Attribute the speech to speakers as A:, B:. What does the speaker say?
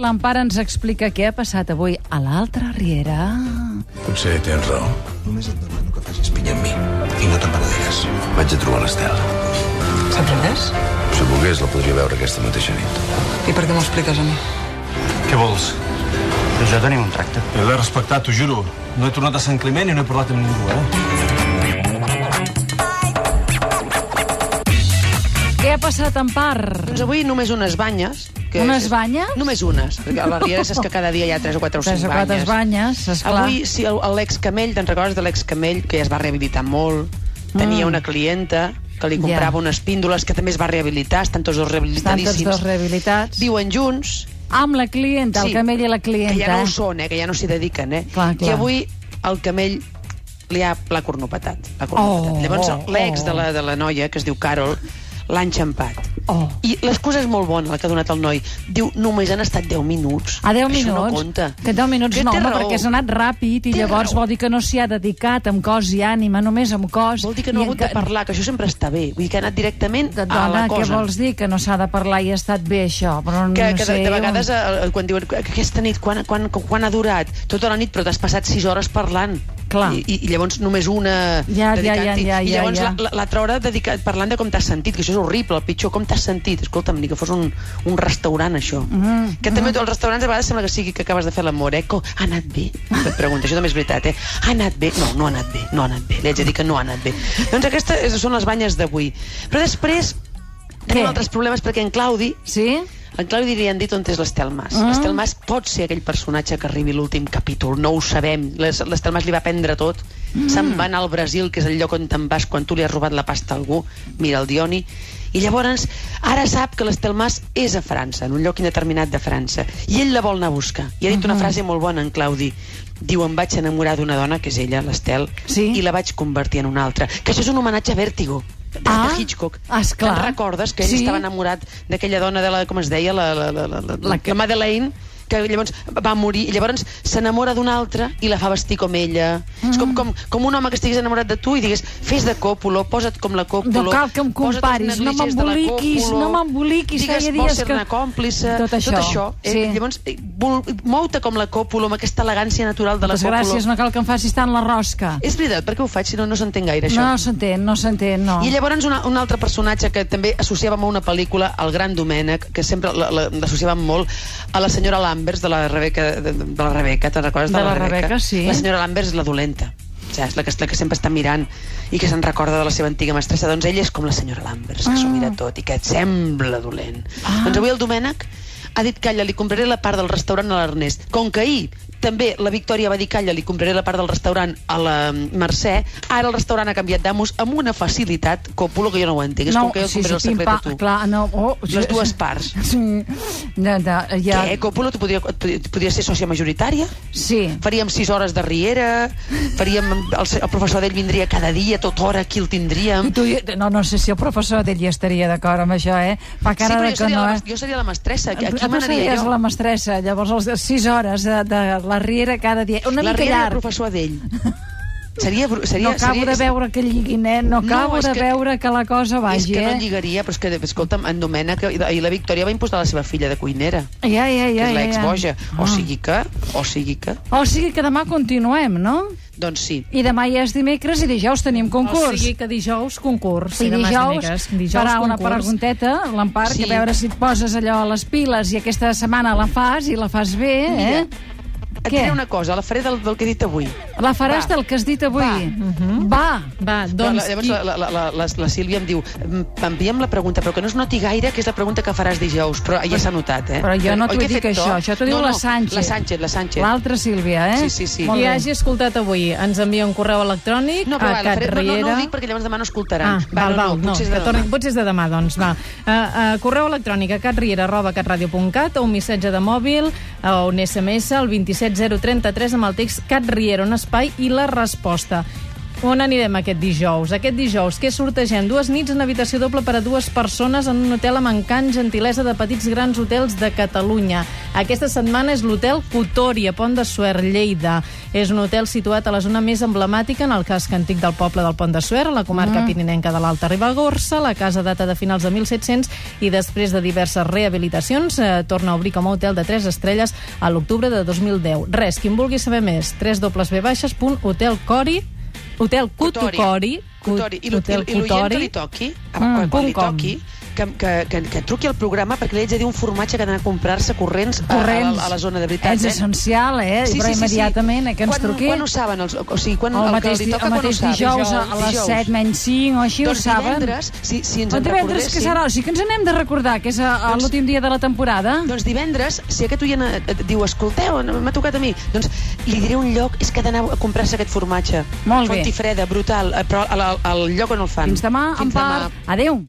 A: L'Empar ens explica què ha passat avui a l'altra Riera.
B: Potser tens raó.
C: Només et demano que facis pinya amb mi i no te'n penedires.
B: Vaig a trobar l'Estel.
D: Sorprendés?
B: Si volgués, la podria veure aquesta mateixa nit.
D: I per què m'ho expliques a mi?
E: Què vols?
F: Tu i Doncs jo tenim un tracte.
E: Jo l'he respectat, t'ho juro. No he tornat a Sant Climent i no he parlat amb ningú, eh?
A: Què ha passat, Empar?
G: Doncs avui només unes banyes. Que
A: Unes banyes?
G: Només unes, perquè a la Riera és que cada dia hi ha 3 o 4 o 5
A: Tres o quatre banyes, esclar.
G: Avui, sí, el- l'ex Camell, te'n recordes de l'ex Camell, que ja es va rehabilitar molt, tenia una clienta que li
A: Mm. Ja.
G: comprava unes píndoles, que també es va rehabilitar, estan tots dos
A: Estan tots
G: rehabilitadíssims.
A: dos rehabilitats.
G: Viuen junts,
A: Amb la clienta, el
G: Sí.
A: camell i la clienta.
G: que ja no ho
A: eh?
G: són, eh, que ja no s'hi dediquen. Eh?
A: Clar, clar.
G: I avui el Camell li ha l'ha cornopetat. L'ha cornopetat.
A: Oh,
G: Oh, Llavors l'ex
A: oh.
G: de, la, de la noia, que es diu Carol, l'ha enxampat.
A: Oh.
G: I l'excusa és molt bona, la que ha donat el noi. Diu, només han estat 10 minuts.
A: A 10
G: Això
A: minuts.
G: no compta.
A: Que 10 minuts
G: Que
A: no,
G: té
A: home,
G: raó.
A: perquè s'ha anat ràpid i
G: Té
A: llavors
G: raó.
A: vol dir que no s'hi ha dedicat amb cos i ànima, només amb cos.
G: Vol dir que no
A: I
G: ha hagut
A: enca-
G: de parlar, que això sempre està bé. Vull dir que ha anat directament
A: Que,
G: a
A: dona,
G: la
A: què
G: cosa.
A: vols dir? Que no s'ha de parlar i ha estat bé, això. Però
G: que,
A: no
G: que
A: sé,
G: de, de vegades
A: un-
G: eh, quan diuen que aquesta nit, quan, quan, quan ha durat? Tota la nit, però t'has passat 6 hores parlant.
A: Clar.
G: I, i- I llavors només una
A: Ja, ja,
G: dedicant-hi.
A: ja, ja,
G: I llavors
A: ja.
G: la- la- l'altra hora dedicat, parlant de com t'has sentit, que això és horrible, el pitjor, com t'has sentit. Escolta'm, ni que fos un, un restaurant, això.
A: Mhm,
G: que també els restaurants a vegades sembla que sigui que acabes de fer l'amor, eh? Co, ha anat bé? Et pregunto, això també és veritat, eh? Ha anat bé? No, no ha anat bé, no ha anat bé. Li haig de dir que no ha anat bé. doncs aquestes són les banyes d'avui. Però després tenim
A: Què?
G: altres problemes perquè en Claudi,
A: Sí?
G: en Claudi li han dit on és l'Estel Mas.
A: Ah.
G: Mm. L'Estel Mas pot ser aquell personatge que arribi l'últim capítol, no ho sabem. Les- L'Estel Mas li va prendre tot. Mm. Se'n va anar al Brasil, que és el lloc on te'n vas quan tu li has robat la pasta a algú. Mira el Dioni. I llavors, ara sap que l'Estel Mas és a França, en un lloc indeterminat de França. I ell la vol anar a buscar. I ha dit
A: Mm-hmm.
G: una frase molt bona en Claudi. Diu, em vaig enamorar d'una dona, que és ella, l'Estel,
A: Sí.
G: i la vaig convertir en una altra. Que això és un homenatge a Vértigo, de,
A: Ah.
G: de Hitchcock.
A: Esclar.
G: Te'n recordes que ell
A: Sí.
G: estava enamorat d'aquella dona de la, com es deia, la, la, la, la, la,
A: La
G: la,
A: que-
G: la Madeleine, que llavors va morir, i llavors s'enamora d'una altra i la fa vestir com ella. Mm. És com, com, com un home que estigués enamorat de tu i digués, fes de còpulo, posa't com la còpulo.
A: No cal que em
G: posa't els
A: comparis, no
G: negligés de la
A: m'emboliquis,
G: Còpolo,
A: no m'emboliquis,
G: Digues,
A: feia dies
G: vols
A: que-
G: ser-ne còmplice,
A: Tot això,
G: Tot això eh?
A: sí.
G: Llavors, eh, vol- mou-te com la còpulo, amb aquesta elegància natural de la
A: Moltes
G: còpulo.
A: gràcies, no cal que em facis tant la rosca.
G: És veritat, per què ho faig si no, no s'entén gaire, això?
A: No s'entén, no s'entén, no.
G: I llavors una, un altre personatge que també associàvem a una pel·lícula, el Gran Domènec, que sempre la- la- l'associàvem molt a la senyora Lambers de la Rebeca, de, de la Rebeca, te'n recordes?
A: De la Rebeca, sí.
G: La senyora Lambers és la dolenta, saps? La que, la que sempre està mirant i que se'n recorda de la seva antiga mestressa. Doncs ella és com la senyora Lambers, que s'ho mira
A: Ah.
G: tot i que et sembla dolent. Doncs avui el Domènec ha dit, calla, li compraré la part del restaurant a l'Ernest. Com que ahir també la Victòria va dir, calla, li compraré la part del restaurant a la Mercè, ara el restaurant ha canviat d'amos amb una facilitat, Còpulo, que jo no ho entenc. És com que jo
A: sí,
G: compraré
A: sí,
G: el secret
A: pim,
G: a tu.
A: Clar, no, oh,
G: Les dues parts.
A: Sí, no, no, ja,
G: Què, Còpulo, tu podria, et podria, et podria ser sòcia majoritària?
A: Sí.
G: Faríem sis hores de Riera, faríem, el, se- el professor d'ell vindria cada dia, tot hora, aquí el tindríem.
A: I tu, no, no sé si el professor d'ell hi estaria d'acord amb això, eh? Fa
G: Sí,
A: cara
G: però
A: de
G: jo
A: que
G: seria,
A: no,
G: la,
A: eh?
G: mas- jo seria la mestressa, aquí,
A: Ah,
G: aquí
A: tu
G: m'anaria
A: series
G: jo.
A: la mestressa, llavors els 6 hores de, de la Riera cada dia. Una
G: la
A: mica
G: Riera i el
A: llarg.
G: professor d'ell. Seria, bru- seria,
A: no acabo
G: seria,
A: de veure que lligui, nen, no
G: No,
A: acabo
G: és
A: de
G: que-
A: veure que la cosa
G: és
A: vagi,
G: que no
A: eh?
G: lligaria, però és que, escolta'm, en Domènec i i la Victòria va imposar la seva filla de cuinera,
A: Ja, ja,
G: que
A: ja.
G: és
A: ja, ja.
G: l'ex-boja.
A: Ah.
G: O sigui que, o sigui que,
A: O sigui que demà continuem, no?
G: doncs sí.
A: I demà ja és dimecres i dijous tenim concurs.
H: O sigui que dijous, concurs.
A: I
H: demà és
A: dijous,
H: dimecres.
A: farà una
H: concurs.
A: pregunteta, l'Empar, sí.
G: Sí.
A: que a veure si et poses allò a les piles i aquesta setmana la fas i la fas bé,
G: Mira,
A: eh?
G: Et
A: Què?
G: diré una cosa, la faré del, del que he dit avui.
A: La faràs
G: Va.
A: del que has dit avui. Va. Va.
H: Va,
G: Doncs,
H: doncs,
G: la, llavors
H: qui...
G: la, la, la, la, la, la Sílvia em diu envia'm la pregunta, però que no es noti gaire que és la pregunta que faràs dijous, però ja s'ha notat, eh?
A: Però jo no
G: Oi
A: t'ho
G: que he
A: dic
G: fet
A: això,
G: to?
A: això t'ho diu
G: no,
A: la
G: no,
A: Sánchez.
G: La Sánchez, la Sánchez.
A: L'altra Sílvia, eh?
G: Sí, sí, sí.
A: Molt
H: qui
A: bé.
H: hagi escoltat avui ens envia un correu electrònic
G: No, però
A: Ah,
G: va,
H: a
G: la faré, no, no, no ho
H: catriera...
G: dic perquè llavors demà no escoltaran.
H: Ah, val,
G: no,
H: val,
G: no,
H: no,
G: potser és
H: que
G: de
H: torni,
G: demà.
H: potser és de demà, doncs, va. Uh, uh, correu electrònic a catriera arroba catradio.cat o un missatge de mòbil uh, o un SMS al 27033 amb el text catriera, un espai i la resposta. On anirem aquest dijous? Aquest dijous, què sortegem? Dues nits en habitació doble per a dues persones en un hotel amb encant gentilesa de petits grans hotels de Catalunya. Aquesta setmana és l'hotel Cotori, a Pont de Suert, Lleida. És un hotel situat a la zona més emblemàtica en el casc antic del poble del Pont de Suert, a la comarca mm. pirinenca de l'Alta Ribagorça. La casa data de finals de 1700 i després de diverses rehabilitacions eh, torna a obrir com a hotel de 3 estrelles a l'octubre de 2010. Res, qui en vulgui saber més, www.hotelcori.com Hotel Cotocori.
G: Cotori. I l'ho- i- i l'oient que li toqui, a-
H: Mm,
G: quan- quan li
H: punt com.
G: toqui, que, que, que, que truqui al programa perquè li haig de dir un formatge que ha d'anar a comprar-se corrents, a-
A: Corrents.
G: A, a, la zona de veritat.
A: És
G: eh?
A: essencial, eh? Però immediatament, eh, que ens
G: quan,
A: truqui.
G: Quan ho saben? Els, o sigui, quan,
A: el,
G: el,
A: mateix, di-
G: que li toca,
A: el mateix
G: quan ho saben?
A: dijous, a les 7 menys 5 o així,
G: doncs
A: ho saben.
G: Divendres, si, si ens
A: o
G: en
A: Doncs divendres, que
G: recordéssim-
A: serà? O sigui que ens anem de recordar, que és a- a
G: Doncs-
A: l'últim dia de la temporada.
G: Doncs divendres, si aquest oient eh, et diu escolteu, no- m'ha tocat a mi, doncs li diré un lloc, és que ha d'anar a comprar-se aquest formatge.
A: Molt bé.
G: Fontifreda, brutal, eh, però al, al, al lloc on el fan.
A: Fins demà, en
G: Fins demà.
A: part. Adéu.